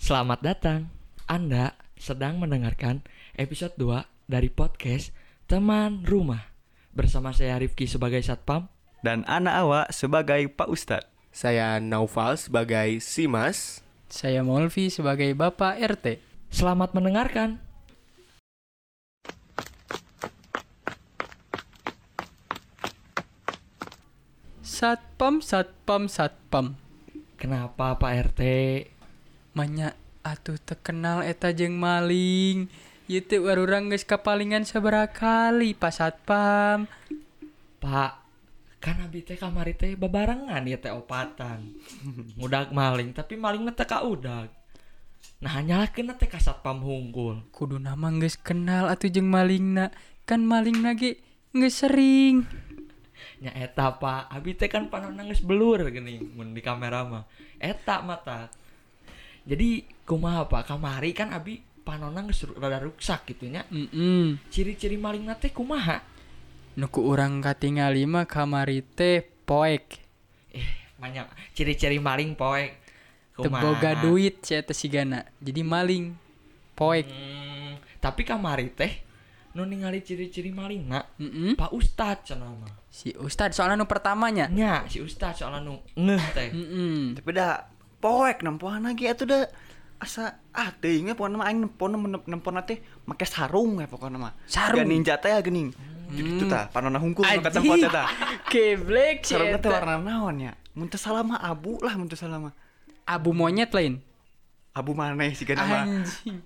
Selamat datang. Anda sedang mendengarkan episode 2 dari podcast Teman Rumah. Bersama saya Rifki sebagai satpam. dan anak awak sebagai Pak Ustadz. Saya Naufal sebagai Simas. Saya Molvi sebagai Bapak RT. Selamat mendengarkan. Satpam, satpam, satpam. Kenapa Pak RT? Manya atuh terkenal eta jeung maling. Itu orang geus kapalingan sabaraha kali Pak Satpam. Pak, kan abi teh kamari teh babarengan ya teh opatan. Mudag maling, tapi malingnya teh ka udag. Nah, nyalakeun teh ka satpam hunggul. Kudu nama geus kenal atuh jeung malingna. Kan malingna ge geus sering. Nya eta Pak, abi teh kan panonna geus belur geuning mun di kamera mah. Eta mata. Jadi kumaha Pak, kamari kan abi panonna geus rada ruksak gitu nya. Mm Ciri-ciri malingna teh kumaha? Nuku orang katingali mah kamari teh poek. Eh, banyak ciri-ciri maling poek. Teboga duit sia eta sigana. Jadi maling. Poek. Hmm, tapi kamari teh nu ningali ciri-ciri malingna Mm Pak Ustad cenah mah. Si Ustad soalnya nu pertamanya. Nya si Ustad soalnya nu ngeh teh. Mm Tapi dah poek nempuhan lagi atuh dah asa ah teuingnya pokoknya mah aing nempon nempon teh make sarung Hmm. ya pokoknya mah. Ga Sarung. ninja teh ya geuning. Gitu tah panona hungkul nu ka Aji. tempat eta. Keblek sih Sarungna teh eta. warna naon ya? Mun teh salah mah abu lah mun teh salah mah. Abu monyet lain. Abu maneh sigana mah. Anjing.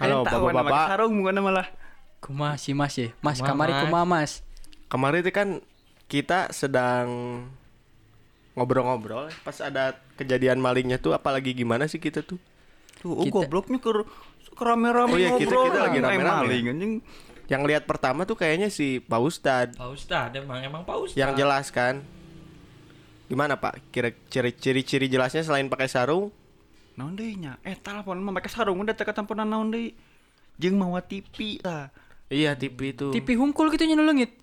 Aing Halo tahu warna make bapak-bapak. Sarung mungkin mah lah. Kumaha si Mas ya? Mas Kumaha, kamari Mas? kumaha Mas? Kemarin itu kan kita sedang ngobrol-ngobrol pas ada kejadian malingnya tuh apalagi gimana sih kita tuh? Tuh, oh, Kita- gobloknya ke ke rame-rame Oh iya, kita- ngobrol kita lah. lagi Eh, rame-rame. maling, anjing. Yang lihat pertama tuh kayaknya si Pak Ustad Pak Ustad emang emang Pak Ustad. yang jelas kan. Gimana Pak? Kira ciri- ciri-ciri jelasnya selain pakai sarung? naon deui nya eta lah pon mah make sarung udah teh katamponan naon deui jeung mawa TV tah Iya TV itu. Tipi hungkul gitu nya leungit.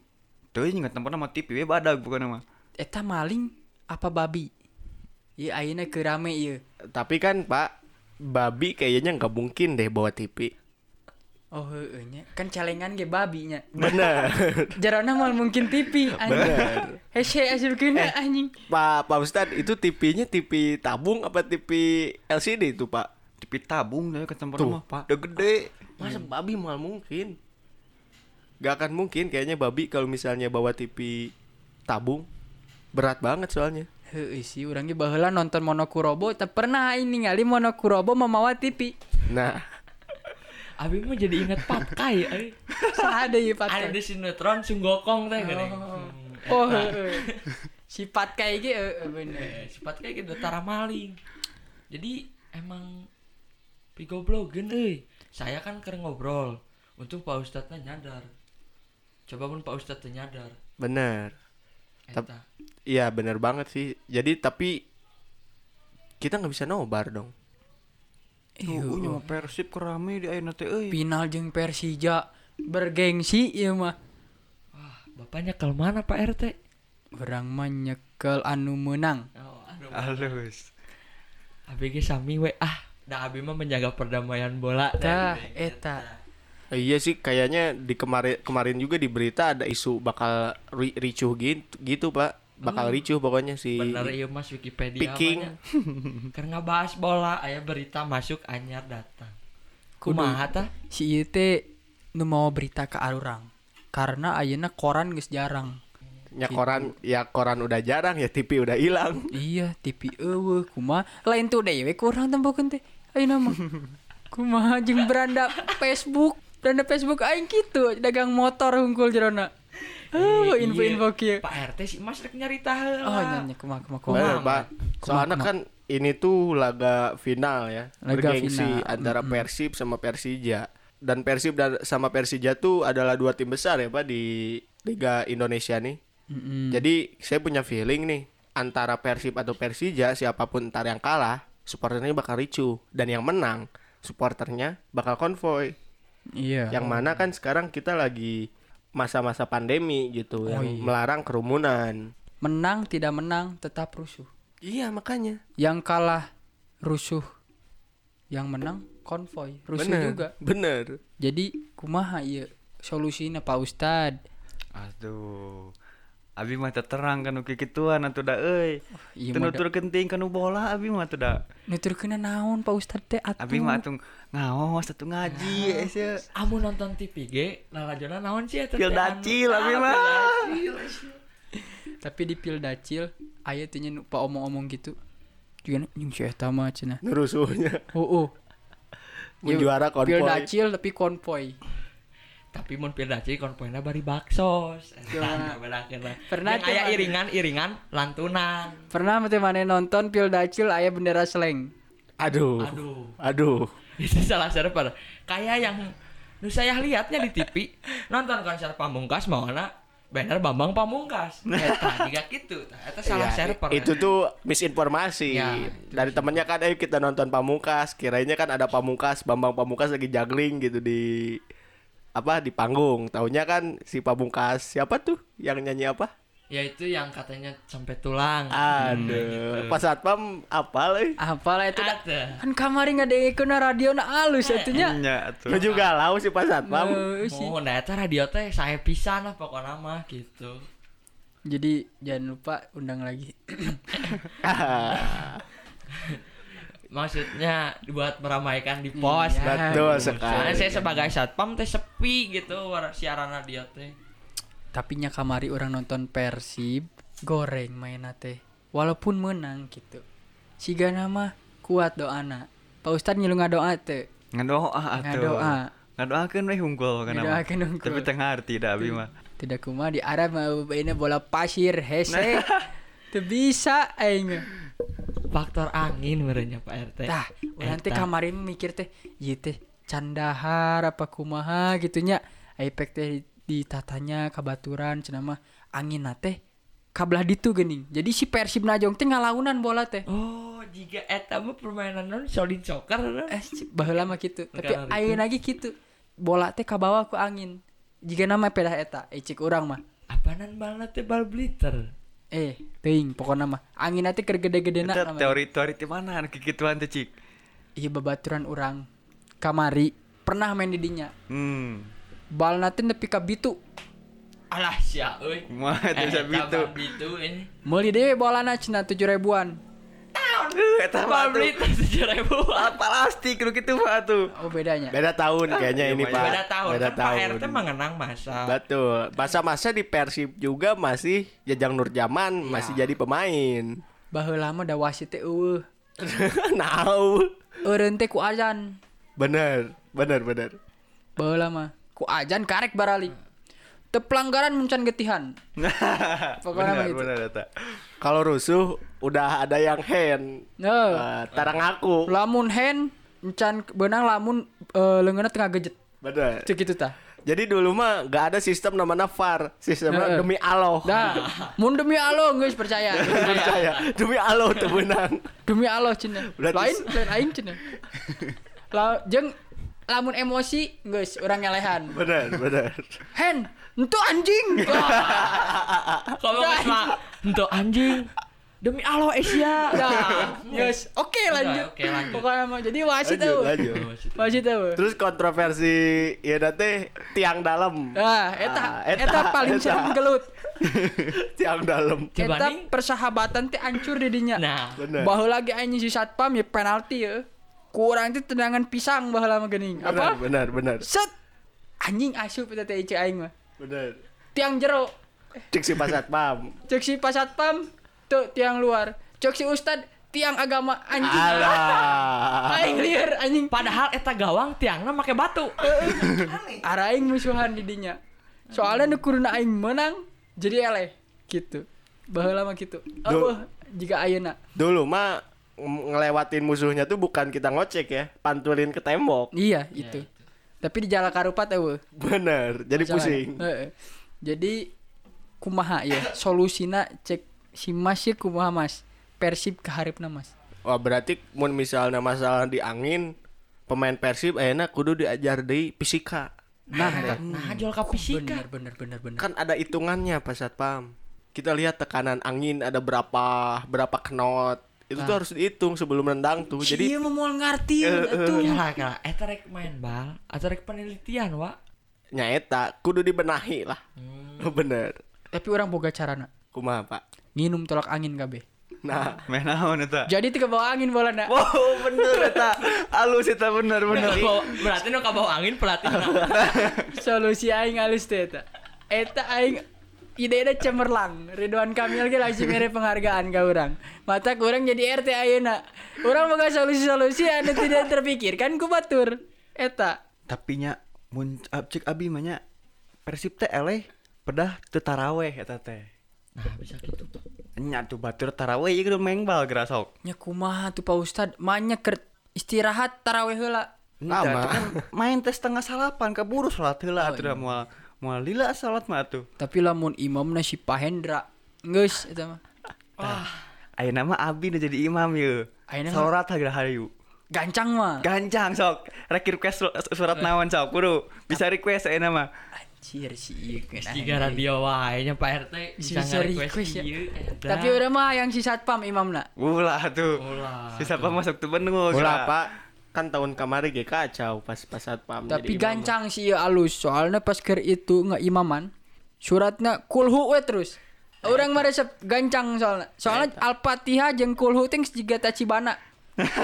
teuing nggak tempat mah TV we badag bukan mah Eta maling apa babi? Ieu ayeuna keur rame iya. ieu. Tapi kan Pak babi kayaknya nggak mungkin deh bawa TV. Oh heueuh nya. Kan calengan ge babinya. Bener. Jarana mal mungkin tipi anjing. Hese asil Eh. kena anjing. Pak Pak Ustad itu TV-nya TV tabung apa TV LCD itu Pak? TV tabung deui katamponan Tuh, mah udah gede Masa babi mal mungkin? Hmm. Gak akan mungkin kayaknya babi kalau misalnya bawa TV tabung berat banget soalnya. Heueuh sih urang ge baheula nonton Monokurobo teu pernah aing ningali Monokurobo mamawa tipi. Nah, Abi mah jadi inget patkai. ai. Saha deui Ada patah. di sinetron Sunggokong teh geuning. ya? Hmm. Oh heueuh. Sifat kayak gitu, bener. Eh, sifat kayak gitu tara maling. Jadi emang pigoblogeun euy. Saya kan keur ngobrol. Untung Pak Ustadnya nyadar. Coba pun Pak Ustadnya nyadar. bener. Tap- Eta. Iya bener banget sih. Jadi tapi kita nggak bisa nobar dong. tuh nya persib kerame di ayeuna teh euy final jeung Persija bergengsi ieu mah Wah, bapaknya ke mana Pak RT? orang mah nyekel anu menang Oh, aduh. halus ABG sami we ah. Dah abi mah menjaga perdamaian bola. tah eta Eh, iya sih kayaknya di kemarin kemarin juga di berita ada isu bakal ri- ricuh gitu, gitu Pak. Bakal ricuh pokoknya si Bener iya mas Wikipedia Piking. mah nya. Karena bahas bola Aya berita masuk anyar datang Kumaha tah si ieu teh nu mau berita ke arurang karena ayeuna koran geus jarang Ya koran ya koran udah jarang ya TV udah hilang. iya TV eueuh kumaha lain tuh dewe kurang tembokeun teh ayeuna mah kumaha jeung beranda Facebook beranda Facebook aing kitu dagang motor hungkul jerona Heuh, Eh, Oh, info-info iya. kieu. Pak RT si mas rek nyarita heula Oh, nyanyi kumaha kumaha kumaha. Bener, Pak. Soalnya kan ini tuh laga final ya. Laga bergengsi final, antara Persib sama Persija. Dan Persib dan sama Persija tuh adalah dua tim besar ya, Pak di Liga Indonesia nih. Mm-mm. Jadi saya punya feeling nih antara Persib atau Persija siapapun ntar yang kalah, supporternya bakal ricu dan yang menang supporternya bakal konvoy. Iya. Yang mana kan sekarang kita lagi masa-masa pandemi Oh, gitu yang iya. melarang kerumunan. menang tidak menang tetap rusuh Iya, makanya. yang kalah rusuh yang menang konvoy rusuh bener juga bener jadi kumaha iya solusinya Pak Ustad Aduh. Abi mah terang kan oke kituan atuh da euy. iya Teu mah nutur kenting kanu bola abi mah atuh da. nuturkeuna naon Pak Ustad teh atuh Abi mah atuh ngaos atuh ngaji eh, ese. Amu nonton TV ge, lalajona naon sih eta? teh, Pil anu? dacil abi Ah, mah. pil dacil. tapi di pil dacil aya teh nya nu pa omong-omong gitu juga jeung si eta mah cenah nerusuhnya oh oh Iya, menjuara pil konvoy dacil tapi konvoy Tapi mun pil dacil konpoina bari baksos. Eta balakeun lah. Iya. Pernah Yang tuh, aya Mas. iringan-iringan lantunan. pernah teh mana nonton pil dacil aya bendera seleng aduh Aduh. aduh Itu salah server. Kayak yang nu saya lihatnya di TV, nonton konser Pamungkas mau na banner Bambang Pamungkas. Eta juga gitu. tah. Eta salah Ya, server. itu tuh misinformasi Ya, dari temennya kan ayo kita nonton pamungkas kiranya kan ada pamungkas bambang pamungkas lagi juggling gitu di apa di panggung tahunya kan si pamungkas siapa tuh yang nyanyi apa Ya itu yang katanya sampai tulang. Ah, gitu. aduh pas satpam apa eh apalah itu da- Ada. kan kamari ngadeukeuna radio na alus atunya Nya atuh. lu juga lau sih pas satpam Heuh, sih. Oh, nah eta radio teh saya pisan lah pokoknya mah gitu. jadi jangan lupa undang lagi Maksudnya dibuat meramaikan di pos. kan. Iya. betul Soalnya sekali saya sebagai satpam teh sepi gitu war- siaran radio teh. tapi nya kamari orang nonton Persib goreng main teh walaupun menang gitu siga nama kuat doana Pak Ustad nyelung ngadoa teh Ngadoa atuh. Ngadoa. Ngadoakeun we unggul kana. mah. Ngadoakeun unggul. Tapi teu ngarti da abi mah. tidak kuma di Arab mau mainnya bola pasir hese teu bisa aing Faktor angin merenya Pak Eh, RT. tah urang teh Eta. kamari mikir teh ieu teh candahar apa kumaha gitunya efek teh ditatanya kabaturan cenah mah angin teh kabelah ditu geuning jadi si Persib najong teh ngalaunan bola teh Oh, jika eta mah permainan non solid soccer. nah. eh baheula mah gitu tapi Karena ayo lagi gitu bola teh kabawa ku angin jika nama pedah eta ecik orang mah Apaanan balna teh bal blitter. eh teuing pokoknya mah angin teh keur gede-gedena Eta namanya. teori-teori ti mana anu kikituan teh cik. iya babaturan orang kamari pernah main di dinya Hmm. bal teh nepi ka bitu Alah sia euy. Eh, Kumaha Eh, teh Eta sabitu. bal bitu ini. meuli dewe bolana cenah 7 ribuan Eh, Eta Bal mah atuh. blitter 7000. Ah, Plastik lu kitu mah atuh. oh bedanya beda tahun kayaknya Iya, ini Pak. pak Beda tahun beda kan Pak RT mengenang masa. betul masa-masa di persib juga masih jajang nurjaman Iya. masih jadi pemain baheula mah da wasit teh eueuh Nau. eureun teh ku azan Nah, Bener, bener, bener. baheula mah ku azan karek barali teu pelanggaran muncan getihan Pokoknya benar mah gitu. benar eta. Kalau rusuh udah ada yang hand. Nah, Eh, tarang aku. lamun hand encan benang lamun eh, leungeunna tengah gejet Bener. cek gitu tah Jadi dulu mah gak ada sistem namanya VAR, sistemnya Heeh. Nah. demi Allah. dah mun demi Allah geus percaya Percaya, demi Allah tuh benang. demi Allah cina Berarti- lain lain aing cina la jeung lamun emosi geus urang ngalehan Bener, bener. hand itu anjing Wah, Kalau nggak sama untuk anjing demi Allah Asia. dah geus oke lanjut Nah. Oke, lanjut. pokoknya mah jadi wasit Lanjut, tuh lanjut. wasit tuh Terus kontroversi ya nanti tiang dalam. ah eta Ah, eta, eta paling eta. serem gelut tiang dalam. eta Dibanding- persahabatan teh hancur di dinya Nah, Bener. Baheula lagi anjing si satpam ya penalti ya. Kurang itu tendangan pisang baheula mah geuning. bener, Apa? Bener, bener, Set. Anjing asup eta teh ieu aing mah. bener. Tiang jero. Cik si Pak Satpam. Cek si pas satpam tuh tiang luar. Cek si ustad tiang agama anjing. Alah. Aing liar anjing. padahal eta gawang tiangnya make batu. Arah aing musuhan di dinya. Soalnya nu kuruna aing menang jadi eleh gitu. Baheula mah gitu. Duh. Eueuh jika ayeuna. Dulu mah ng- ngelewatin musuhnya tuh bukan kita ngocek ya, pantulin ke tembok. Iya itu. Tapi di Jalan Karupat eueuh. Bener, jadi ya? pusing. Masalahnya. Heeh. Jadi kumaha ya solusina cek si Mas ya kumaha Mas. Persib ke haripna Mas. Wah, berarti mun misalnya masalah di angin, pemain Persib enak kudu diajar di fisika. Nah, nah, nah jual ka fisika. Bener bener bener bener. Kan ada hitungannya Pak Satpam. Kita lihat tekanan angin ada berapa, berapa knot. itu tuh harus dihitung sebelum nendang tuh Jadi jadi Iya mau ngarti Eh, tuh. Kalah kalah. Eta rek main bal, atau rek penelitian wa. nyaeta kudu dibenahi lah Hmm. bener Tapi orang boga carana. kumaha pak Nginum tolak angin kabeh. nah Main naon eta? Jadi tiga bawa angin bola na. Wow, bener eta. Alus eta bener bener. Berarti, berarti nu kabau angin pelatih. nah. Solusi aing alus teh eta. Eta aing ide cemerlang. Ridwan Kamil ge langsung mere penghargaan ka urang. Mata kurang jadi RT ayeuna. Urang boga solusi-solusi anu tidak terpikirkan ku batur. Eta. Tapi nya mun ab- cek abi mah nya Persib teh eleh pedah teu taraweh eta teh. nah, bisa gitu. Nya tuh batur taraweh ieu kudu mengbal gerasok. Nya kumaha tuh Pak Ustad, manya ker istirahat taraweh heula. Entah, Lama. tuh kan main teh setengah salapan keburu salat heula Oh, atuh da moal moal lila salat mah atuh. Tapi lamun imamna si Pahendra. Geus eta mah. Ayeuna mah abi udah jadi imam yeuh. Ayeuna mah- Salat hayu hayu. Gancang mah. Gancang sok. Rek request su- surat naon sok kudu. Bisa request eh, ayeuna mah. Anjir si ieu Geus kena. Tiga radio wae nya Pak RT bisa Bisa request nge-request ya. ieu. eta. Tapi udah mah yang si satpam imamna. Ulah tuh. Ulah Sisa apa masuk tuh benung. ulah pak kan tahun kemarin ge kacau pas pas saat pam Tapi gancang si ieu alus soalnya pas keur itu ngeimaman suratnya kulhu we terus. Orang Eh. meresep gancang soalnya. Soalnya Al-Fatihah jeung kulhu teh jiga tacibana.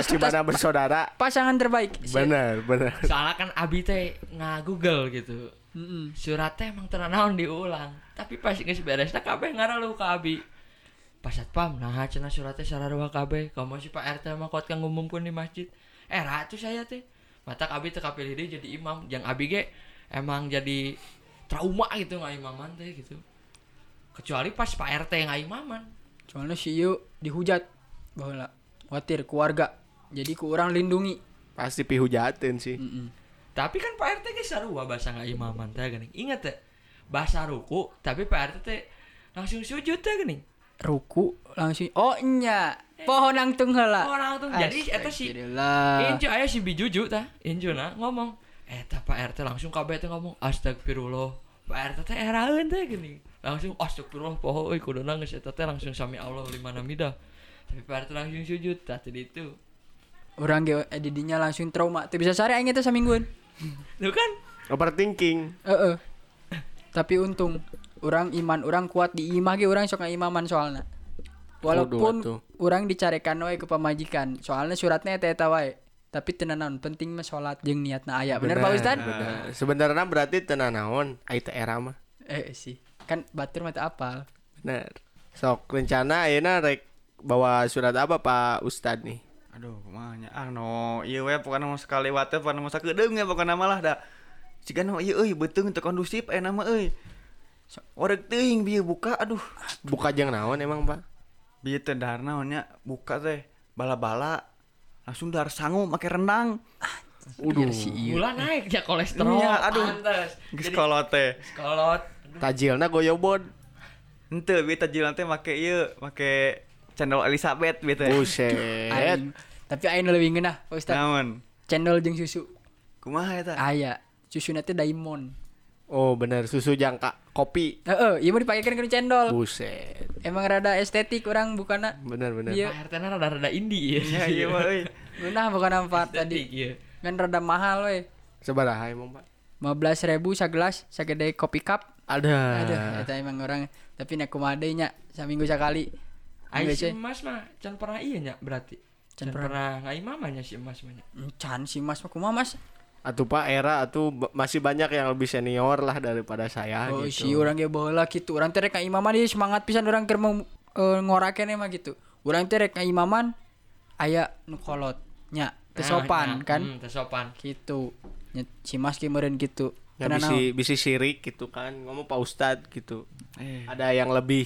gimana bersaudara Pasangan terbaik. Si- bener bener Soalnya kan Abi teh nggak Google gitu. Mm-mm. Surat teh emang teranaun diulang. Tapi pas geus beres teh kabeh ngaraluh ka Abi. Pas satpam nah cenah surat teh sararua kabeh. Kamu si Pak RT mah kuat kan ngumumkeun di masjid. Eh ratu saya teh. Mata Abi teh kapilih deui jadi imam. Yang Abi ge emang jadi trauma gitu nggak imaman teh gitu. Kecuali pas Pak RT nggak imaman. Soalnya si ieu dihujat baheula. Khawatir keluarga. Jadi ku orang lindungi. pasti pihujatin sih Tapi kan Pak RT ge sarua bahasa nggak imaman teh geuning. Ingat teh bahasa ruku tapi Pak RT teh langsung sujud teh geuning. Ruku langsung oh nya pohon angtung Ah, heula. Pohon angtung. Jadi, eta si- Astagfirullah. Incu aya si Bijuju tah. Incu na nah, ngomong, eta Pak RT langsung kabeh teh ngomong astagfirullah. Pak RT teh eraeun teh geuning. Langsung astagfirullah poho euy kuduna geus eta ya, teh langsung sami Allah liman hamidah. Tapi Pak RT langsung sujud tah tadi itu. Orang ge eh, didinya langsung trauma. Teu bisa sare aing teh samingguan. Tuh kan? overthinking Heeh. Tapi untung orang iman orang kuat di imah ge orang sok ngaimaman soalna. Kudu atuh. Walaupun orang dicarekan we ke pamajikan, soalnya suratnya eta eta wae. Tapi tenanan penting mah salat jeung niatna aya. Bener, Pak Ustad? bener. sebenarnya berarti tenanawan itu era mah Eh sih. Kan batur mah teu apal. bener sok rencana ayeuna rek bawa surat apa pak ustad nih Aduh, kumanya ah no, ieu we pokona mau sekali wae pokona mau sakedeung ya pokona malah da. Siga no ieu oh, euy beuteung teu kondusif eh nama euy. So- Orek teuing bieu buka aduh. buka jeng naon emang pak Bieu teh dahar naon nya buka teh bala-bala. Langsung dahar sangu make rendang. Udah si ieu. Gula naik ya kolesterol. Iya, aduh. Pantes. Geus Jadi kolot teh. kolot. tajilna goyobod Henteu bieu tajilan teh make ieu, make cendol Elizabeth bieu teh. buset Aing. Tapi aing leuwih ngeunah, Pak Ustad. Naon? Cendol jeung susu. Kumaha eta? Aya. Susuna teh Daimon. oh bener susu jangka kopi Heeh, ieu mah dipakekeun kana cendol. buset Emang rada estetik orang bukannya bener bener Iya. Pak RT na rada-rada indie ya. Nya ieu mah euy. Nah bukan empat Tadi iya. tadi Kan rada mahal we sebaraha emang pak 15 ribu segelas Segede kopi cup ada Aduh Itu emang orang Tapi nek kumadainya Seminggu sekali Aing si Biasa Mas mah can pernah iya nya berarti. Can Can pernah ngaimamanya si Mas mah nya. "Hmm, Can si mas mah kumaha mas Atuh Pak era atuh b- masih banyak yang lebih senior lah daripada saya Oh Ah, si gitu. orang ge bola gitu Orang terek imaman dia semangat pisan orang keur mau eh, ngorakeun emang gitu Orang terek imaman Aya nu kolot Nya Tesopan Nah, nah, kan hmm, tesopan. Gitu Nya, Si mas ge meureun gitu Ya, Karena bisi, bisi sirik gitu kan ngomong Pak Ustad gitu. Eh, Ada yang lebih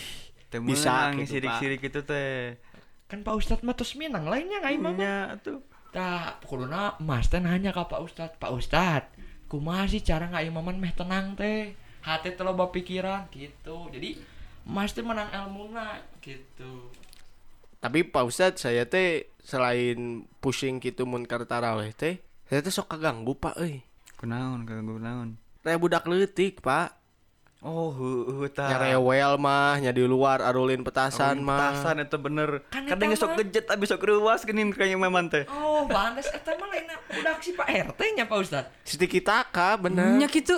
bisa bisa gitu Pak. sirik-sirik itu teh. Kan Pak Ustad mah tos Minang lainnya ngaimama. Nya atuh. Tah, pokoknya Mas teh nanya ka Pak Ustad, Pak Ustad, kumaha sih cara ngaimaman meh tenang teh? Hati teh loba pikiran gitu. Jadi Mas teh menang ilmuna gitu. Tapi Pak Ustad saya teh selain pusing gitu munkar taraweh teh, saya teh sok kaganggu Pak euy. Kunaon, kagak kunaon. Raya budak leutik Pak. Oh, heuh tah. Nyarewel mah, nya di luar Ah. arulin petasan mah. Tasan itu bener. Kan Kadang eta sok mah- gejet abis sok ruas gini kayaknya memang teh. Oh, pantes eta mah lain budak si Pak RT nya Pak Ustad. Sedikit taka bener. Nya gitu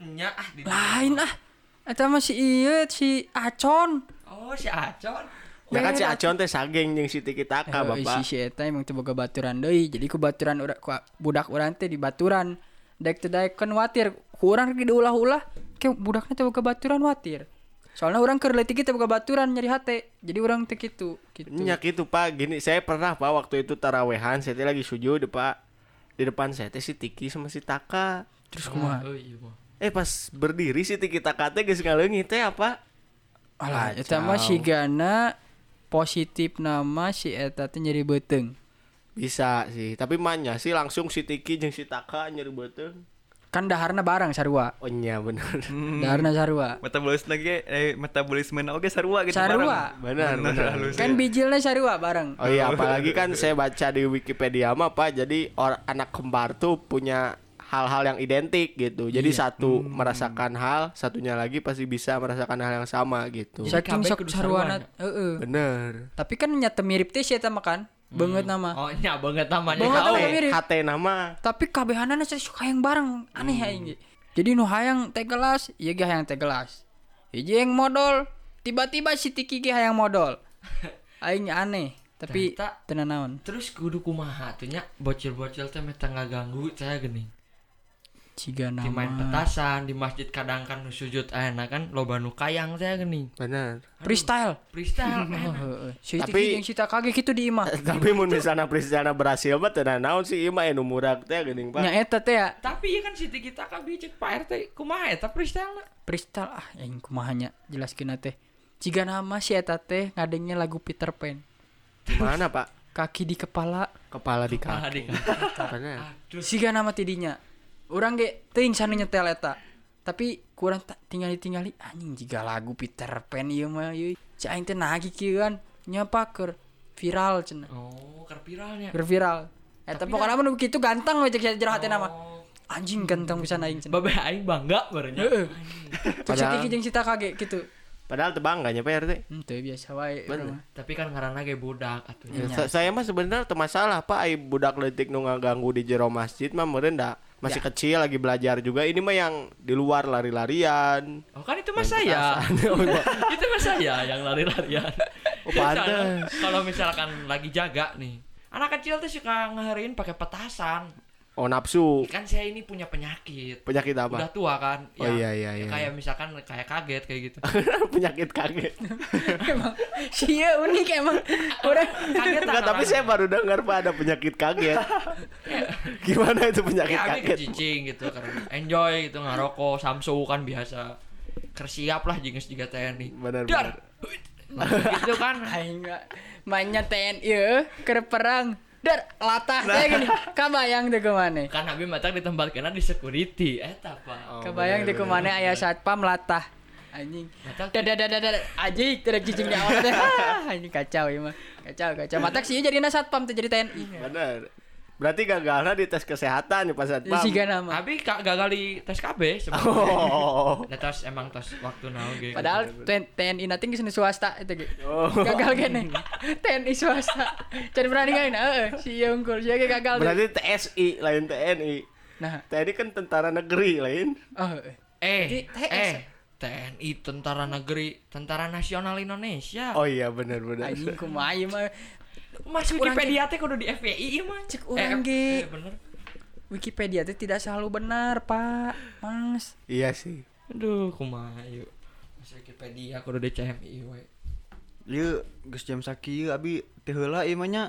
Nya ah di lain ah. Eta mah si ieu si Acon. Oh, si Acon. Ya kan si Acon teh sageng jeung si Tiki Eh, Taka, Bapak. Si si eta emang coba ke baturan deui. Jadi ku baturan ura- ku budak urang teh di baturan. Daek teh daek kan watir. Ku urang ge diulah-ulah ke budakna coba ke baturan watir. Soalnya orang keur leutik teh boga baturan nyari hate. Jadi orang teh kitu gitu. Nya gitu, Pak. Gini, saya pernah Pak waktu itu tarawehan, saya teh lagi sujud, Pak. Di depan saya teh si Tiki sama si Taka. Terus kumaha? Oh, iya. mah. Eh pas berdiri si Tiki Taka teh geus ngaleungit teh apa? Alah, eta mah si Gana positif nama si eta teh nyeri beteng. Bisa sih, tapi manya sih langsung si Tiki jeung si Taka nyeri beuteung. Kan daharna barang sarua. Oh nya bener. Daharna sarua. Metabolisme lagi eh metabolisme oke sarua gitu. Sarua. bareng. Bener, bener. halus. Kan bijilnya sarua bareng. Oh iya, apalagi kan saya baca di Wikipedia mah Pak, jadi or, anak kembar tuh punya hal-hal yang identik gitu. Jadi satu merasakan hal, satunya lagi pasti bisa merasakan hal yang sama gitu. Bisa- Saking Kabeh sok kudu saruana. saruana. Heeh. Bener. Tapi kan nyata mirip teh si eta mah kan. Hmm. Banget nama. Oh, nya banget namanya. Iya, Oh, kau. Banget nama. Tapi mirip. Kate eh, nama tapi kabehanana saya suka yang bareng aneh Hmm. aing ge. jadi nu hayang teh gelas ieu ge hayang teh gelas hiji yang modal tiba-tiba si Tiki ge hayang modal aing aneh tapi Ternyata- teu naon Terus kudu kumaha tuh nya bocil-bocil teh meta ganggu saya geuning. ciga Di main nama petasan di masjid kadang kan nu sujud ayeuna kan loba nu kayang saya geuning. Bener. freestyle Freestyle. enak. Heeh. si Tapi- Tiki jeung si Takage kitu di imah Tapi mun misalnya Prisciana berhasil mah teu naon sih ima anu murag teh geuning Pak. nya eta teh ya Tapi ya kan si kita kan cek Pak RT kumaha eta freestyle freestyle ah aing kumaha nya jelaskeun teh ciga nama si eta teh ngadengnya lagu Peter Pan Mana Pak? kaki di kepala Kepala di kaki. adik. Bener. Siga nama tidinya. Orang ge teuing sanu nyetel eta. Tapi kurang tinggal ditinggali anjing jika lagu Peter Pan ieu mah ieu. Si aing teh nagih kieu kan nyapa keur viral cenah. Oh, keur viralnya. Keur viral. Eta pokokna mah nu kitu ganteng we jeung jero hatena mah. Anjing ganteng pisan aing cenah. Babe aing bangga barenya. Heeh. Terus Padahal- Kiki jeung si Takage gitu. Padahal tebang gak Pak RT? Hmm, teu biasa wae. urang mah. Tapi kan ngaranna ge budak atuh. Ya, sa- saya mah sebenarnya teu masalah Pak ai budak leutik nu ngaganggu di jero masjid mah meureun da masih kecil lagi belajar juga ini mah yang di luar lari-larian Oh kan itu mah saya. itu mah saya yang lari-larian. Oh, Misalnya, pantes. Kalau misalkan lagi jaga nih, anak kecil tuh suka ngeherin pakai petasan. oh nafsu Kan saya ini punya penyakit. penyakit Udah apa tua kan? Oh, iya, iya, ya iya. Kayak misalkan kayak kaget kayak gitu. penyakit kaget Emang si ieu unik emang. Orang Kaget enggak tapi saya baru dengar Pak ada penyakit kaget gimana itu penyakit kayak kaget Ya, cicing gitu karena enjoy gitu ngaroko samsu kan biasa kersiap lah jengis juga TNI Benar, Dar! gitu kan Aing nggak mainnya TNI ya, ke eh, perang. Dar latah saya gini. Kabayang deh kemana? kan abi matak di tempat kena di security eh Oh. apa Kebayang deh kemana ayah satpam latah. Anjing. Matak- Dada dada dada anjing tidak cicing di awal deh. Ah, Anjing kacau ya mah. Kacau kacau. Matak sih jadi satpam tuh jadi TNI. benar berarti gagalnya di tes kesehatan ya Pak Satpam Si Gana mah. abi ka- gagal di tes KB sebenarnya oh Nah, tes emang tes waktu now gitu. Padahal TN- TNI nanti kesini swasta itu ge. Gagal gini. TNI swasta. Jadi berani gak ini? Heeh, eh. si ieu unggul si ieu ge gagal. tuh. berarti TSI lain TNI Nah, TNI kan tentara negeri lain oh, heeh. Jadi eh TS. eh TNI Tentara Negeri Tentara Nasional Indonesia oh iya benar benar anjing kumaha ieu mah. Mas Cek urang Wikipedia teh kudu di FPI mah Cek urang iya, Eh, eh, ge. bener Wikipedia itu tidak selalu benar, Pak. Mas. iya sih aduh kumaha yuk Mas Wikipedia kudu di CMI we Ieu geus jam sakieu abi teh heula ieu mah nya.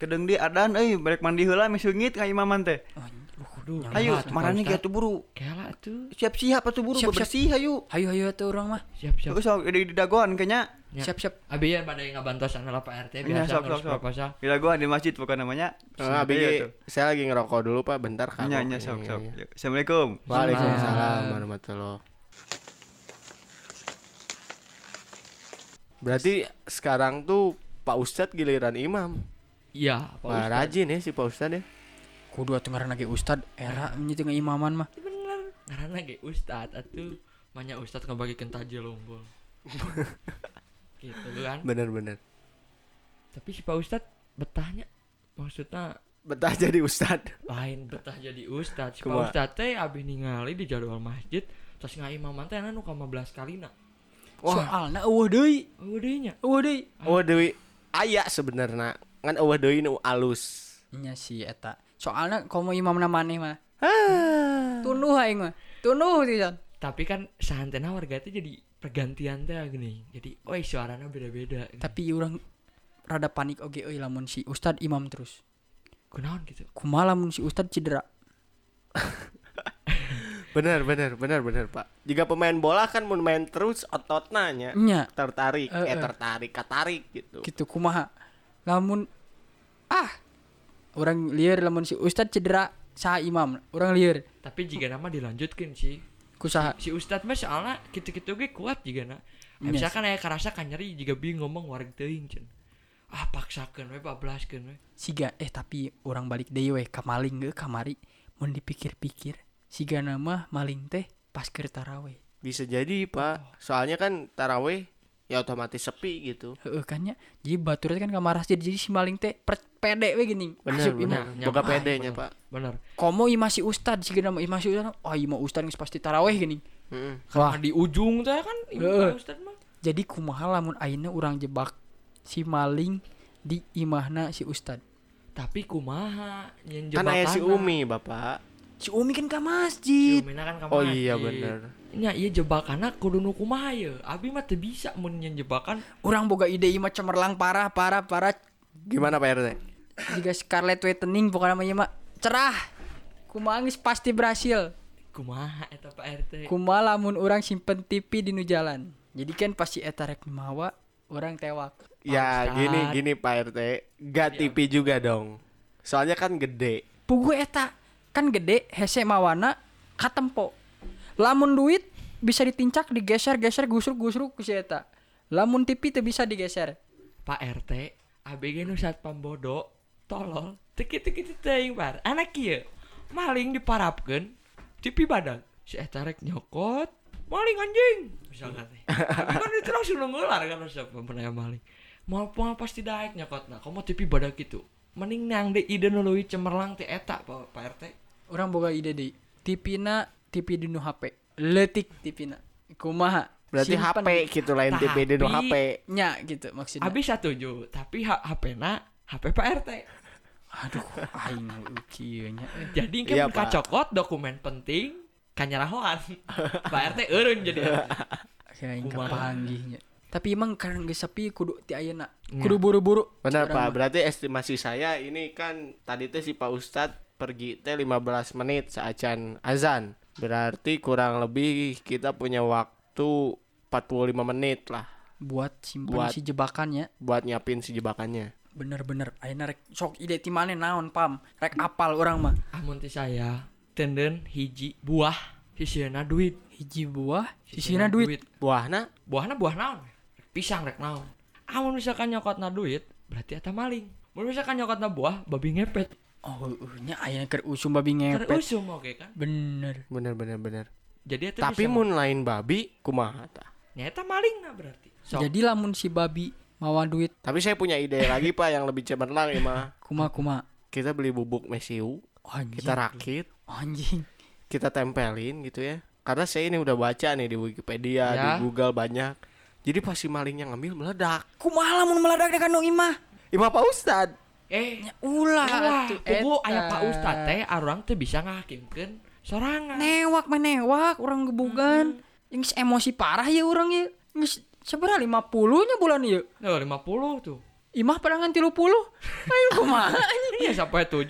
Kedeng di adan euy balik mandi heula misungit ka imaman teh. Aduh, Ayo, marani ge gitu. atuh buru. Kela tuh Siap-siap atuh buru Siap-siap. bebersih ayo. Hayu hayu atuh urang mah. siap siap. Geus di di dagoan kayaknya. Ya. Siap Iya, siap. Abi ya pada yang ngabantosan lah Pak RT biasa Ya, sok, ngurus sok, sok. proposal. Di dagoan di masjid bukan namanya. Nah, Iya, Abi, tuh. saya lagi ngerokok dulu Pak, bentar kan. Nya nya sok sok. Assalamualaikum. Waalaikumsalam warahmatullahi Berarti sekarang tuh Pak Ustadz giliran imam. Iya, Pak Wah, rajin ya si Pak Ustadz ya. Kudu atuh ngaranna ge ustad era nya teu ngeimaman mah. Ustadz. Karena ge Ustad atuh Manya Ustadz ngebagikan tajil lombol. gitu kan. Bener-bener. Tapi si Pak Ustadz betahnya maksudnya Betah jadi ustad. lain betah jadi ustadz. Si Pak Kumaha? Ustadz teh abis ningali di jadwal masjid terus ngaimaman teh anu ka 15 kalina. Wah, Soalnya eueuh deui, Udahnya. eueuh deui. eueuh deui aya Oh, sebenarnya. Ngan eueuh deui nu alus. Nya si eta. Soalnya komo imam maneh mah. Tunuh aing mah. Tunuh pisan. Tapi kan sahantena warga teh jadi pergantian teh gini. Jadi oi suaranya beda-beda. Tapi orang rada panik oge euy lamun si ustad imam terus. Kunaon gitu. Kumaha lamun si ustad cedera? Bener, bener, bener, bener, Pak. Jika pemain bola kan mau main terus ototnya nya Nya. tertarik, eh Iya. Eh, eh. tertarik, katarik gitu. gitu kumaha lamun ah orang liar lamun si ustad cedera saha imam orang liar Tapi jika nama dilanjutkan sih. kusaha si ustadz mah soalnya gitu-gitu gue kuat juga nak Yes. misalkan aya karasa kan nyeri jika bingung ngomong warga teuing cen ah paksakeun we bablaskeun we siga eh tapi orang balik deui we kamaling ge kamari mun dipikir-pikir siga nama maling teh pas keur taraweh Bisa jadi, Pak. Soalnya kan taraweh ya otomatis sepi gitu. heueuh kan nya jadi batur teh kan kamarah jadi jadi si maling teh per- pede we geuning Bener, Asup bener. imam. Nah, Boga nyaman, pedenya, bener. Pak. bener komo imah si ustad siga nama imah si ustad oh imah ustad geus pasti taraweh geuning Heeh. wah nah, di ujung teh kan Heeh. imam ustadz mah jadi kumaha lamun ayeuna urang jebak si maling di imahna si ustad tapi kumaha nyen Kan aya si jebakanna. Umi, Bapak. si Umi kan ke si masjid umina kan ka Oh iya, masjid. bener. nya iya jebakanna kudu nu kumaha ye abi mah teu bisa mun nyen jebakan orang boga ide ima cemerlang parah parah parah Gimana Pak RT? jika Scarlett Whitening bukan namanya mak cerah kumangis pasti berhasil kumaha eta Pak RT kuma lamun orang simpen TV di nu jalan jadi kan pasti eta rek mawa orang tewak Ya Bangsat. gini gini Pak RT, gak TV juga dong. Soalnya kan gede. pugu eta kan gede hese mawana katempo lamun duit bisa ditincak digeser geser gusruk gusruk ku si eta lamun TV teu bisa digeser Pak RT ABG nu satpam bodo tolol teki teki teuing bar anak kieu maling diparapkeun tipi badan si eta rek nyokot maling anjing misalkan teh Tapi kan itu langsung ngelar kan siapa pernah maling mau poal pasti daek nyokotna komo tipi badak kitu mending nang de ide nu leuwih cemerlang teh eta Pak Pak RT orang boga ide deh tipina TV di nu HP letik tipina kumaha Berarti Simpen. HP gitu lain TV di nu Tapi- HP. nya gitu maksudnya abis satuju tapi ha- HP na HP Pak RT aduh aing kieu nya eh. jadi Iya, kan Pak. kacokot dokumen penting kanyarahoan Pak RT eureun jadi Kayak aing Kumaha. kapanggih nya tapi emang karena geus sepi kudu ti ayeuna Nya. kudu buru-buru Benar Orang Pak, mah. berarti estimasi saya ini kan tadi teh si Pak Ustadz pergi teh 15 menit saacan azan. Berarti kurang lebih kita punya waktu 45 menit lah buat simpen Buat. si jebakannya buat nyiapin si jebakannya. bener-bener ayeuna rek sok ide ti maneh naon pam rek apal orang mah Amun ti saya tenden hiji buah sisieuna duit. hiji buah sisina duit Buahna Buahna buah naon? Rek Pisang rek naon. Amun misalkan nyokotna duit, berarti eta maling. Mun misalkan nyokotna buah, babi ngepet. oh heuh nya ayeuna keur usum babi ngepet Terusum oke kan. bener bener bener bener. Jadi eta Tapi bisa- mun lain babi kumaha tah? nyaeta maling nah berarti. Sok. jadi lamun si babi mawa duit Tapi saya punya ide lagi Pak yang lebih cemerlang ya mah. kuma kuma Kita beli bubuk mesiu, Oh, Iya. anjing Oh, kita rakit, anjing kita tempelin gitu ya karena saya ini udah baca nih di Wikipedia Ya. di Google banyak jadi pasti malingnya ngambil meledak kumaha lamun meledak dekan dong imah Ima Pak Ustad eh, ulah ulah, atuh, eh. kubu eta. aya Pak Ustad teh arang teh bisa ngahakimkeun sorangan. newak menewak orang gebugan yang emosi parah ya orang ya Geus seberapa lima puluhnya bulan ya Tuh 50 tuh. imah padangan tilu puluh ayo kumaha Iya sampai 7.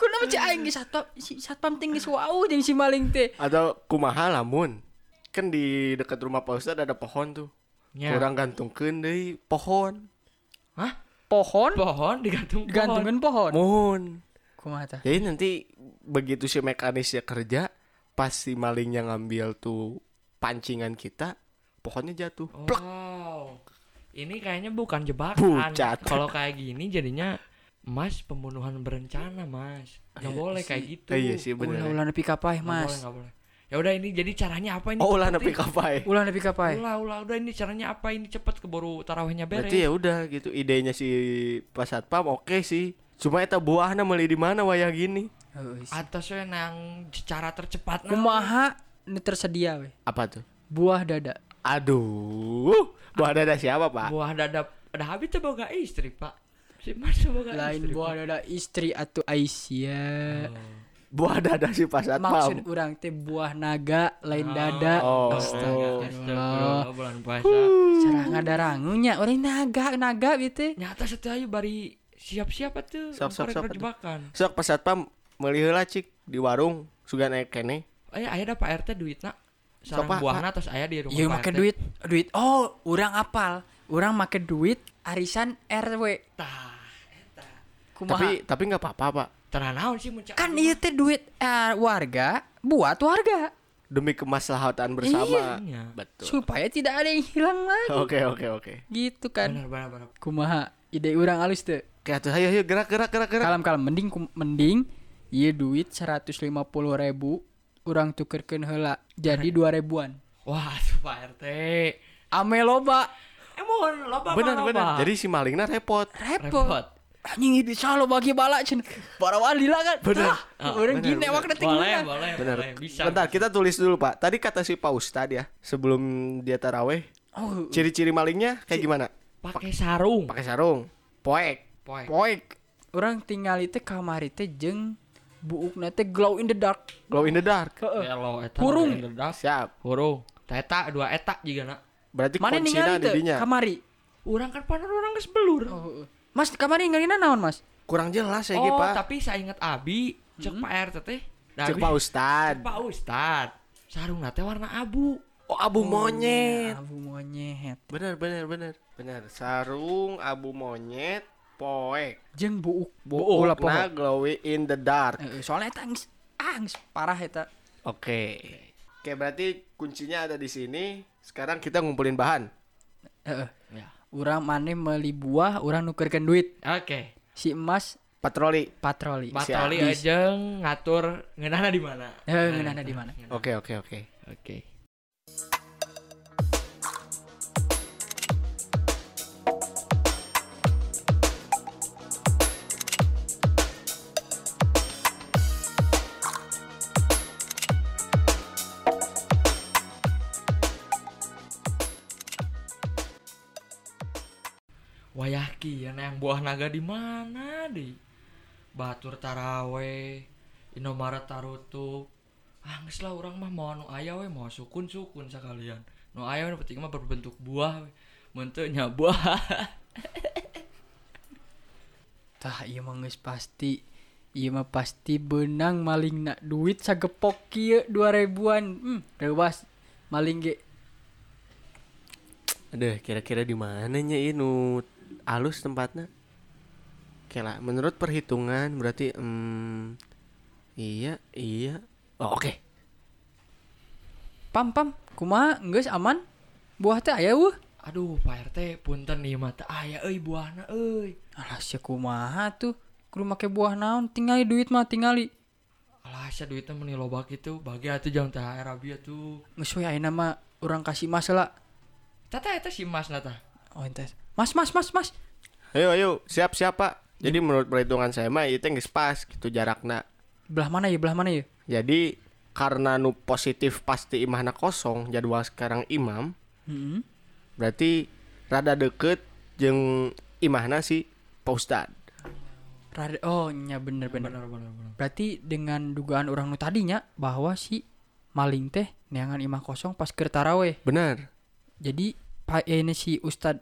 ku nama cek aing geus satpam si satpam teh geus wau jeung si maling teh atau kumaha lamun kan di dekat rumah Pak Ustad ada pohon tuh Nya. kurang gantungkeun deui pohon Hah? pohon Pohon digantung pohon. digantungan pohon mohon kumaha tah jadi nanti begitu si mekanisnya kerja pasti malingnya ngambil tuh pancingan kita pohonnya jatuh Oh, Wow. Ini kayaknya bukan jebakan. Pucat. Kalau kayak gini jadinya Mas pembunuhan berencana, Mas. Nggak boleh kayak gitu. Eh, iya sih ulah bener ulah nepi ka paeh Nggak boleh, mas nggak boleh. ya udah ini jadi caranya apa ini Oh ulah Cepet nepi nih. kapai. Ulah nepi kapai. ulah ulah udah ini caranya apa ini cepet keburu tarawihnya beres Berarti ya udah gitu idenya si Pak Satpam oke sih. Cuma eta buahna meuli di mana wayah gini? Heus. atas we nang cara tercepat Kumaha nu tersedia we? Apa tuh? Buah dada. Aduh, buah dada siapa, Pak? buah dada ada habis tuh boga istri pak si mas boga Lain istri buah Pak. dada istri atau Aisyah. Buah dada si Pak Maksud Satpam. orang teh buah naga lain dada. Oh. Astagfirullah. Astagfirullah bulan puasa Cara ngadarangunya orang naga naga gitu. nyata setiap hari bari siap-siap tuh Siap, siap, siap, jebakan Sok Pak Satpam meuli heula cik di warung sugan naik kene. ayah ayah ada Oh pak rt duit nak sarang Sopa, buahna terus ayah di rumah Iya Pak make RT. duit, duit. Oh, orang apal. Orang make duit arisan RW. tah Kumaha? Tapi tapi nggak apa-apa, Pak. teranaun sih muncak kan ieu teh duit eh, warga buat warga Demi kemaslahatan bersama. Iya. Betul. supaya tidak ada yang hilang lagi. Oke, oke, oke. Gitu kan. benar benar benar Kumaha ide orang alus teh. Oke, atuh ayo ayo gerak gerak gerak gerak. Kalem-kalem mending kum- mending ieu duit 150 ribu urang tukerkeun heula jadi 2 ribuan. wah asuh, pak rt Ame loba emon loba Benar Pak, benar. loba. Jadi si malingna repot. Eh, repot. repot Anjing ieu bisa lo bagi bala cen. Para wali lah kan. Bener. Ah, Orang gini awak detik boleh mana. boleh Benar. boleh. bisa Bentar, kita tulis dulu, Pak. Tadi kata si Pak Ustad ya, sebelum dia taraweh, Oh, ciri-ciri malingnya kayak gimana? pakai sarung Pakai sarung, poek. poek poek. Orang tinggal itu kamari teh jeung buukna teh glow in the dark. Glow in the dark. Heeh. Yellow, eta Hurung. mah ledak. Siap. Hurung. Eta dua eta juga nak. Berarti Mana kuncina ningali di teh dinya. kamari? Orang kan panon orang geus belur. Oh, Oh, Mas kamari ngalina naon, Mas? Kurang jelas ya, Gi, Pak. tapi saya ingat Abi, cek Pak RT teh. Da Cek Abi, Pak Ustad. Pak Ustad. Sarung teh warna abu. Oh, abu monyet. Abu monyet. Bener, bener, bener. Bener. Sarung, abu monyet, poek. Jeung buuk. Buuk ulah poho. na glowy in the dark. Heeh, soalnya eta geus ah geus parah eta. Oke. Oke, berarti kuncinya ada di sini. Sekarang kita ngumpulin bahan. Heeh. Ya. Urang maneh meuli buah, urang nukerkeun duit. Oke. Si Mas Patroli. patroli. Patroli Siap. aja ngatur ngeunana di mana. Heeh, ngeunana di mana? Oke, oke, oke. Oke. Wayah kieu na yang buah naga di mana di? Batur Tarawe, Indomaret tarutup. Ah, geus lah urang mah mau anu aya we, mau sukun-sukun sakalian. Nu aya we nu penting mah berbentuk buah we. Mun teu nya buah. Tah ieu mah geus pasti. Ieu mah pasti benang malingna duit sagepok kieu 2000-an. Hmm, rewas maling ge. Aduh, kira-kira di mananya ini alus tempatnya? Oke lah, menurut perhitungan berarti hmm, iya, iya. Oh, oke. Pam pam, kumaha geus aman? Buah teh aya weh. Aduh, Pak RT, punten ieu mah teu aya euy buahna euy. Alah sia kumaha tuh Kudu make buah naon Tingali duit mah tingali Alah, sia duitnya meni loba kitu, bagi atuh jangan THR abi atuh. Geus we ayeuna mah Urang kasih mas lah Tata eta si Mas nata. Oh entes Mas mas mas mas Ayo, ayo, siap, siap, Pak. Jadi menurut perhitungan saya mah itu nggak pas gitu jarakna. Belah mana ya belah mana ya Jadi karena nu positif pasti imahna kosong jadwal sekarang imam hmm. berarti rada deket jeung imahna si Pak Ustad. Rada, Oh nya bener bener Benar benar benar. Berarti dengan dugaan orang nu tadinya Bahwa si maling teh Neangan imah kosong pas keur taraweh Benar. Jadi pa- eh, ini si ustad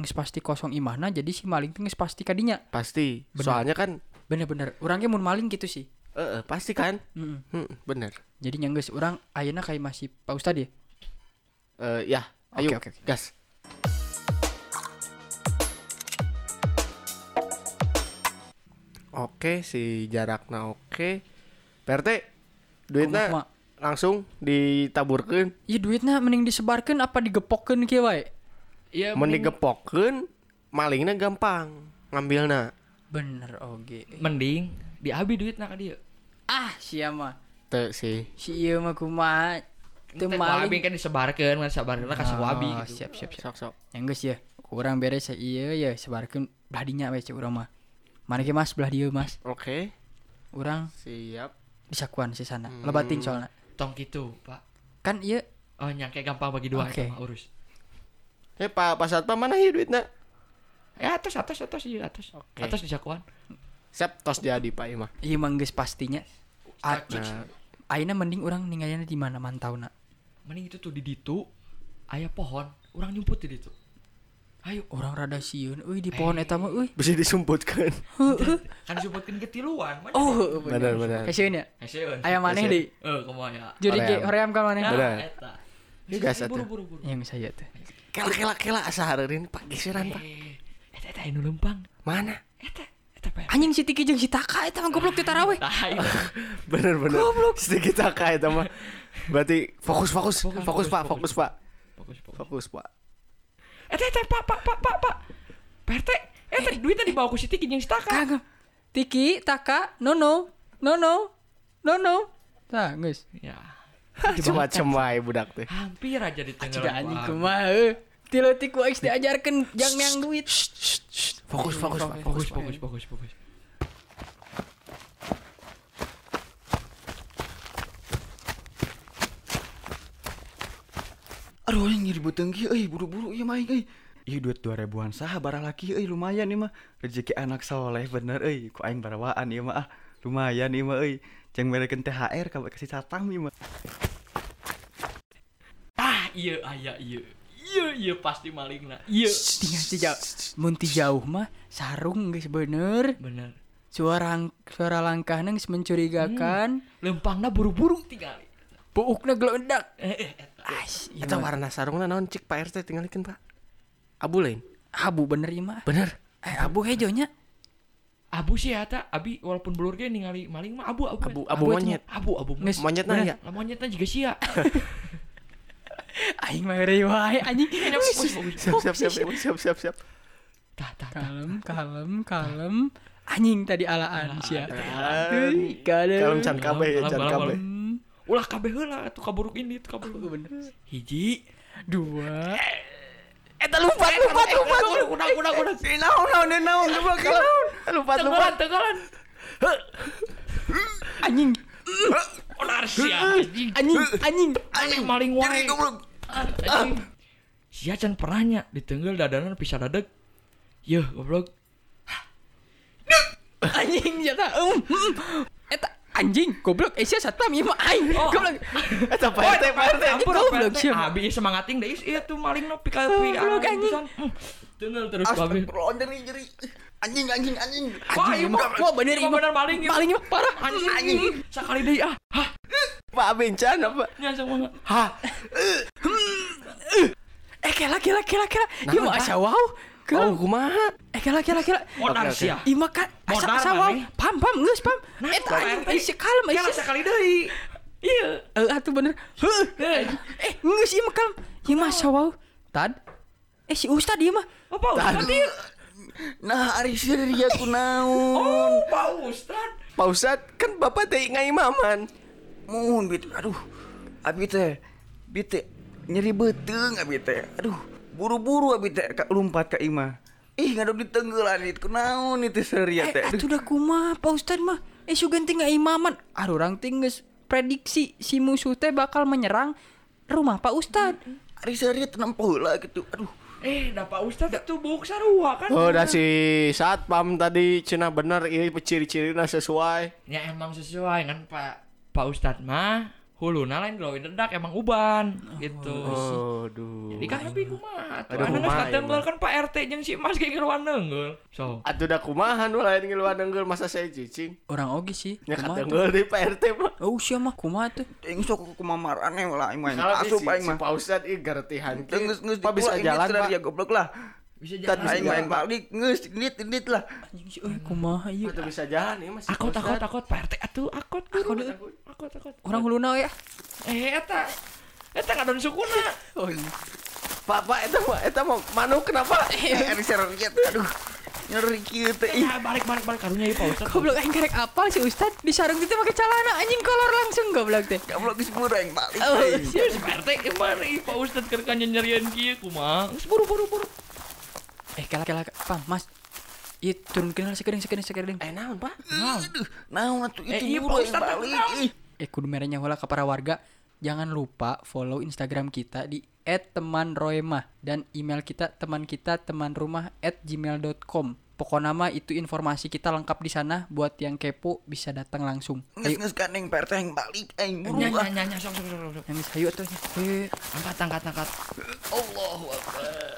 Nges pasti kosong imahna Jadi si maling teh nges pasti kadinya Pasti. Benar. Soalnya kan Bener bener Urang ge mun maling gitu sih eh eh, pasti kan? Mm-mm. Hmm, benar. Jadi nyangges orang ayeuna kayak masih Pak Ustad ya Eh ya, ayo Oke, oke, oke. gas. Oke, si jarakna oke. PRT, Kumaha? duitnya langsung ditaburkan, Iya duitnya mending disebarkan apa digepokkan kieu wae. Iya, mending mending, gepokin, malingnya gampang ngambilna. Bener oge. mending di abi duitna ka dieu. Ah, sia mah. Tuh sih. si ieu mah kumaha teu Wabi maling kan disebarkan, kan sebarkan kasih wabi Oh, gitu. siap siap siap Sok-sok. Enggeus ya kurang beres ya iya ya sebarkan belah dinya we cek urang mah mana ke mas belah dieu mas Oke. urang Siap. disakuan si sana lebatin soalnya Tong gitu, Pak. kan iya Oh, nyangke gampang bagi dua Oke. itu mah urus. Eh Pak Pak Satpam mana ya duitnya? Ya Eh, atas atas atas iya atas. Oke. Atas disakuan. Siap tos jadi Pak Ima. iya manggis pastinya A- Nah, ayeuna mending orang ninggalnya di mana mantau nak Mending itu tuh di ditu aya pohon, orang nyumput di ditu. Ayo, orang rada sieun euy di pohon Eh. eta mah euy bisa disumputkan. kan disebutkan ketiluan. mana? oh Benar-benar. kasieun ya Hasilkan. aya maneh Kasieun. deui Eh, kumaha ya? jadi ge Hoream. hoream kan maneh Benar. Ah, eta. Ini gas, Buru atuh. buru buru. yang saya teh Kela kela kela sahareun Pak gisiran Pak. Eh, eta eta anu lempang. Mana? Eta eta pe. anjing si Tiki jeung si Taka eta mah goblok di tarawih Tah. Bener-bener. Sedikit akal itu mah. Berarti fokus fokus fokus, Pak fokus Pak Fokus fokus. fokus Pak. Eta eta pak pak pak pak pak. eh, PRT, eta duitnya dibawa ku Siti jeung Staka. Kagak. Tiki, Taka, Nono, Nono, Nono. Tah, geus. Ya. Cuma kan. cemai budak teh. Hampir aja di tengah. Sudah anjing kumaha euy. Tiletik ku aing diajarkeun jang meang duit. Shh, shh, shh. Fokus fokus Pak fokus. Fokus fokus fokus fokus. Aduh anjing nyeri beuteung ki euy eh, buru-buru ieu mah aing euy. Ieu duit 2000-an saha barang laki euy lumayan ieu mah. Rezeki anak soleh bener euy. Ku aing barawaan ieu mah ah. Lumayan ieu mah euy. Ceng merekeun THR ka kasih satpam ieu mah. Tah, Ah, iya aya iya. Iya iya pasti malingna. Iya. Tinggal ti jauh. Mun ti jauh mah sarung geus bener. Bener. Suara suara langkahna geus mencurigakan. Hmm. Lempangna buru-buru tinggal. Puukna geledak. Eh, eh, eta. Ais, ieu Eta mah. warna sarungna naon cik Pak RT tinggalikeun Pak. Abu lain. abu bener ieu mah. Bener. Eh, abu hejonya. Abu sih ya, eta. Abi walaupun blur ge ningali maling mah abu abu. Abu eta. Abu abu itu monyet. abu abu. Nges- Monyet nah ya. Lah monyetna juga sia. Aing mah reui wae anjing. Fokus, fokus. Siap siap siap siap siap siap. siap. Tah tah tah. Kalem, kalem, kalem. Anjing tadi alaan sia. Euy, Kalem can kabeh ya Kalem, can kalem, kabeh. Hmm. Ulah kabeh heula atuh kaburuk ini tuh kaburuk. bener Hiji. dua Eta lupa lupa lupa lupa eh, udah udah udah. Naon naon eh, naon coba kalau. Eh, Lupa lupa. Tenggelan tenggelan. anjing Ular Oh, sia. anjing. anjing anjing Anjing maling wae. Anjing. Sia can perahnya ditenggel dadanan pisah dadeg. Yeuh goblok. anjing jata um mm. eta anjing goblok Asia satpam ieu mah aing goblok Eta Pak RT Pak RT. Campur Goblok, goblok sieu. sia. Abi semangatin deui ieu tuh maling no pika pika. Goblok, anjing. Tenggel terus babi. Astagfirullah nyeri nyeri. Anjing anjing anjing. Wah, anjing ieu mah mah- wah bener ieu ieu mah mah bener maling ieu. maling ieu mah parah Anjing. anjing. Sakali deui ah. Hah, Pak Bencan apa? nya sama. Hah. eh kela kela kela kela ieu mah asa wow kela Oh kumaha? eh kela kela kela Modar Oke, oke. sia. ieu mah kan asa Modar asa wow maneh. pam pam geus pam Nah, eta Pak anjing RT. Iya, Asia kalem Kela Asia sakali deui. Ieu. eh atuh bener heuh eh geus ieu mah kalem ieu mah asa wow tad eh si ustad ieu mah Apa Ustad ieu? Nah ari sih dari aku naon. Oh, Pak Ustad. Pak Ustad kan bapak teh ngai maman. Mun bit aduh. Abi teh bit teh nyeri beuteung abi teh. Aduh, buru-buru abi teh ka lompat ka imah. Ih, ngadog ditenggelan itu naon itu seria teh. Eh, Aduh, atuh dah kumaha Pak Ustad mah. Eh, sugan teh ngaimaman. Aduh, orang teh geus prediksi si musuh teh bakal menyerang rumah Pak Ustad. ari seria tenang pola gitu. Aduh. Eh, da Pak Ustad itu buk sarua kan. Oh dah si satpam tadi cina bener ini ciri-cirina sesuai. Ya emang sesuai kan Pak Pak Ustad mah huluna lain glowing dedak emang uban gitu. Oh duh. Jadi kan lebih kumaha tuh. Aduh, Anu geus kumaha ieu katenggel kan Pak RT jeung si Mas ge ngelawan neunggul. So, Atuh dah kumaha nu lain ngiluan denggel masa saya cicing. Orang oge sih. Nya kumaha tuh. katenggel di Pak RT mah. Oh, sia mah kumaha tuh? Teng sok aku mamaran eh lah imah. Kalau si, Asup aing si mah. Pak Ustad ini gertihan. Teu geus geus Pak bisa jalan Pak. ya goblok lah. bisa Tad jalan. bisa Aing jalan, main balik geus nit nit lah. Anjing sih, euy, kumaha ieu? Atuh bisa jalan ya masih. Akot akot akot Pak RT atuh akot. Akot akot akot. Orang huluna ya. Eh eta eta ngadon sukuna. Oh, Pak Pak itu mah itu mah manu kenapa? Ari seria Eh, aduh. nyeri kieu teh ih. Iya, balik balik balik karunya ya Pak Ustaz. Goblok aing karek apal si Ustad di sarung teh pakai celana anjing kolor langsung goblok teh. Ya Goblok geus bureng balik Oh, euy. Iya, si Pak RT kemarin ih, Pak Ustaz kerkanya nyerian kieu kumaha. Geus buru buru buru. Eh kalah kalah pam mas. Iya turun kenal sekering sekering sekering. Eh naon pak? Nah, Naon atuh Eh, iya, itu Pak bureng Ustadz, balik naon? ih. Eh kudu merenya wala para warga. Jangan lupa follow Instagram kita di @temanroemah dan email kita teman kita teman rumah gmail.com. Pokoknya nama itu informasi kita lengkap di sana buat yang kepo bisa datang langsung. Nges Ayo, nges kan kaneng PRT yang balik eh, aing buru ah. nyanyi nyanyi sok sok sok sok. nangis ayo tuh. Eh, Angkat angkat angkat. Allahu akbar.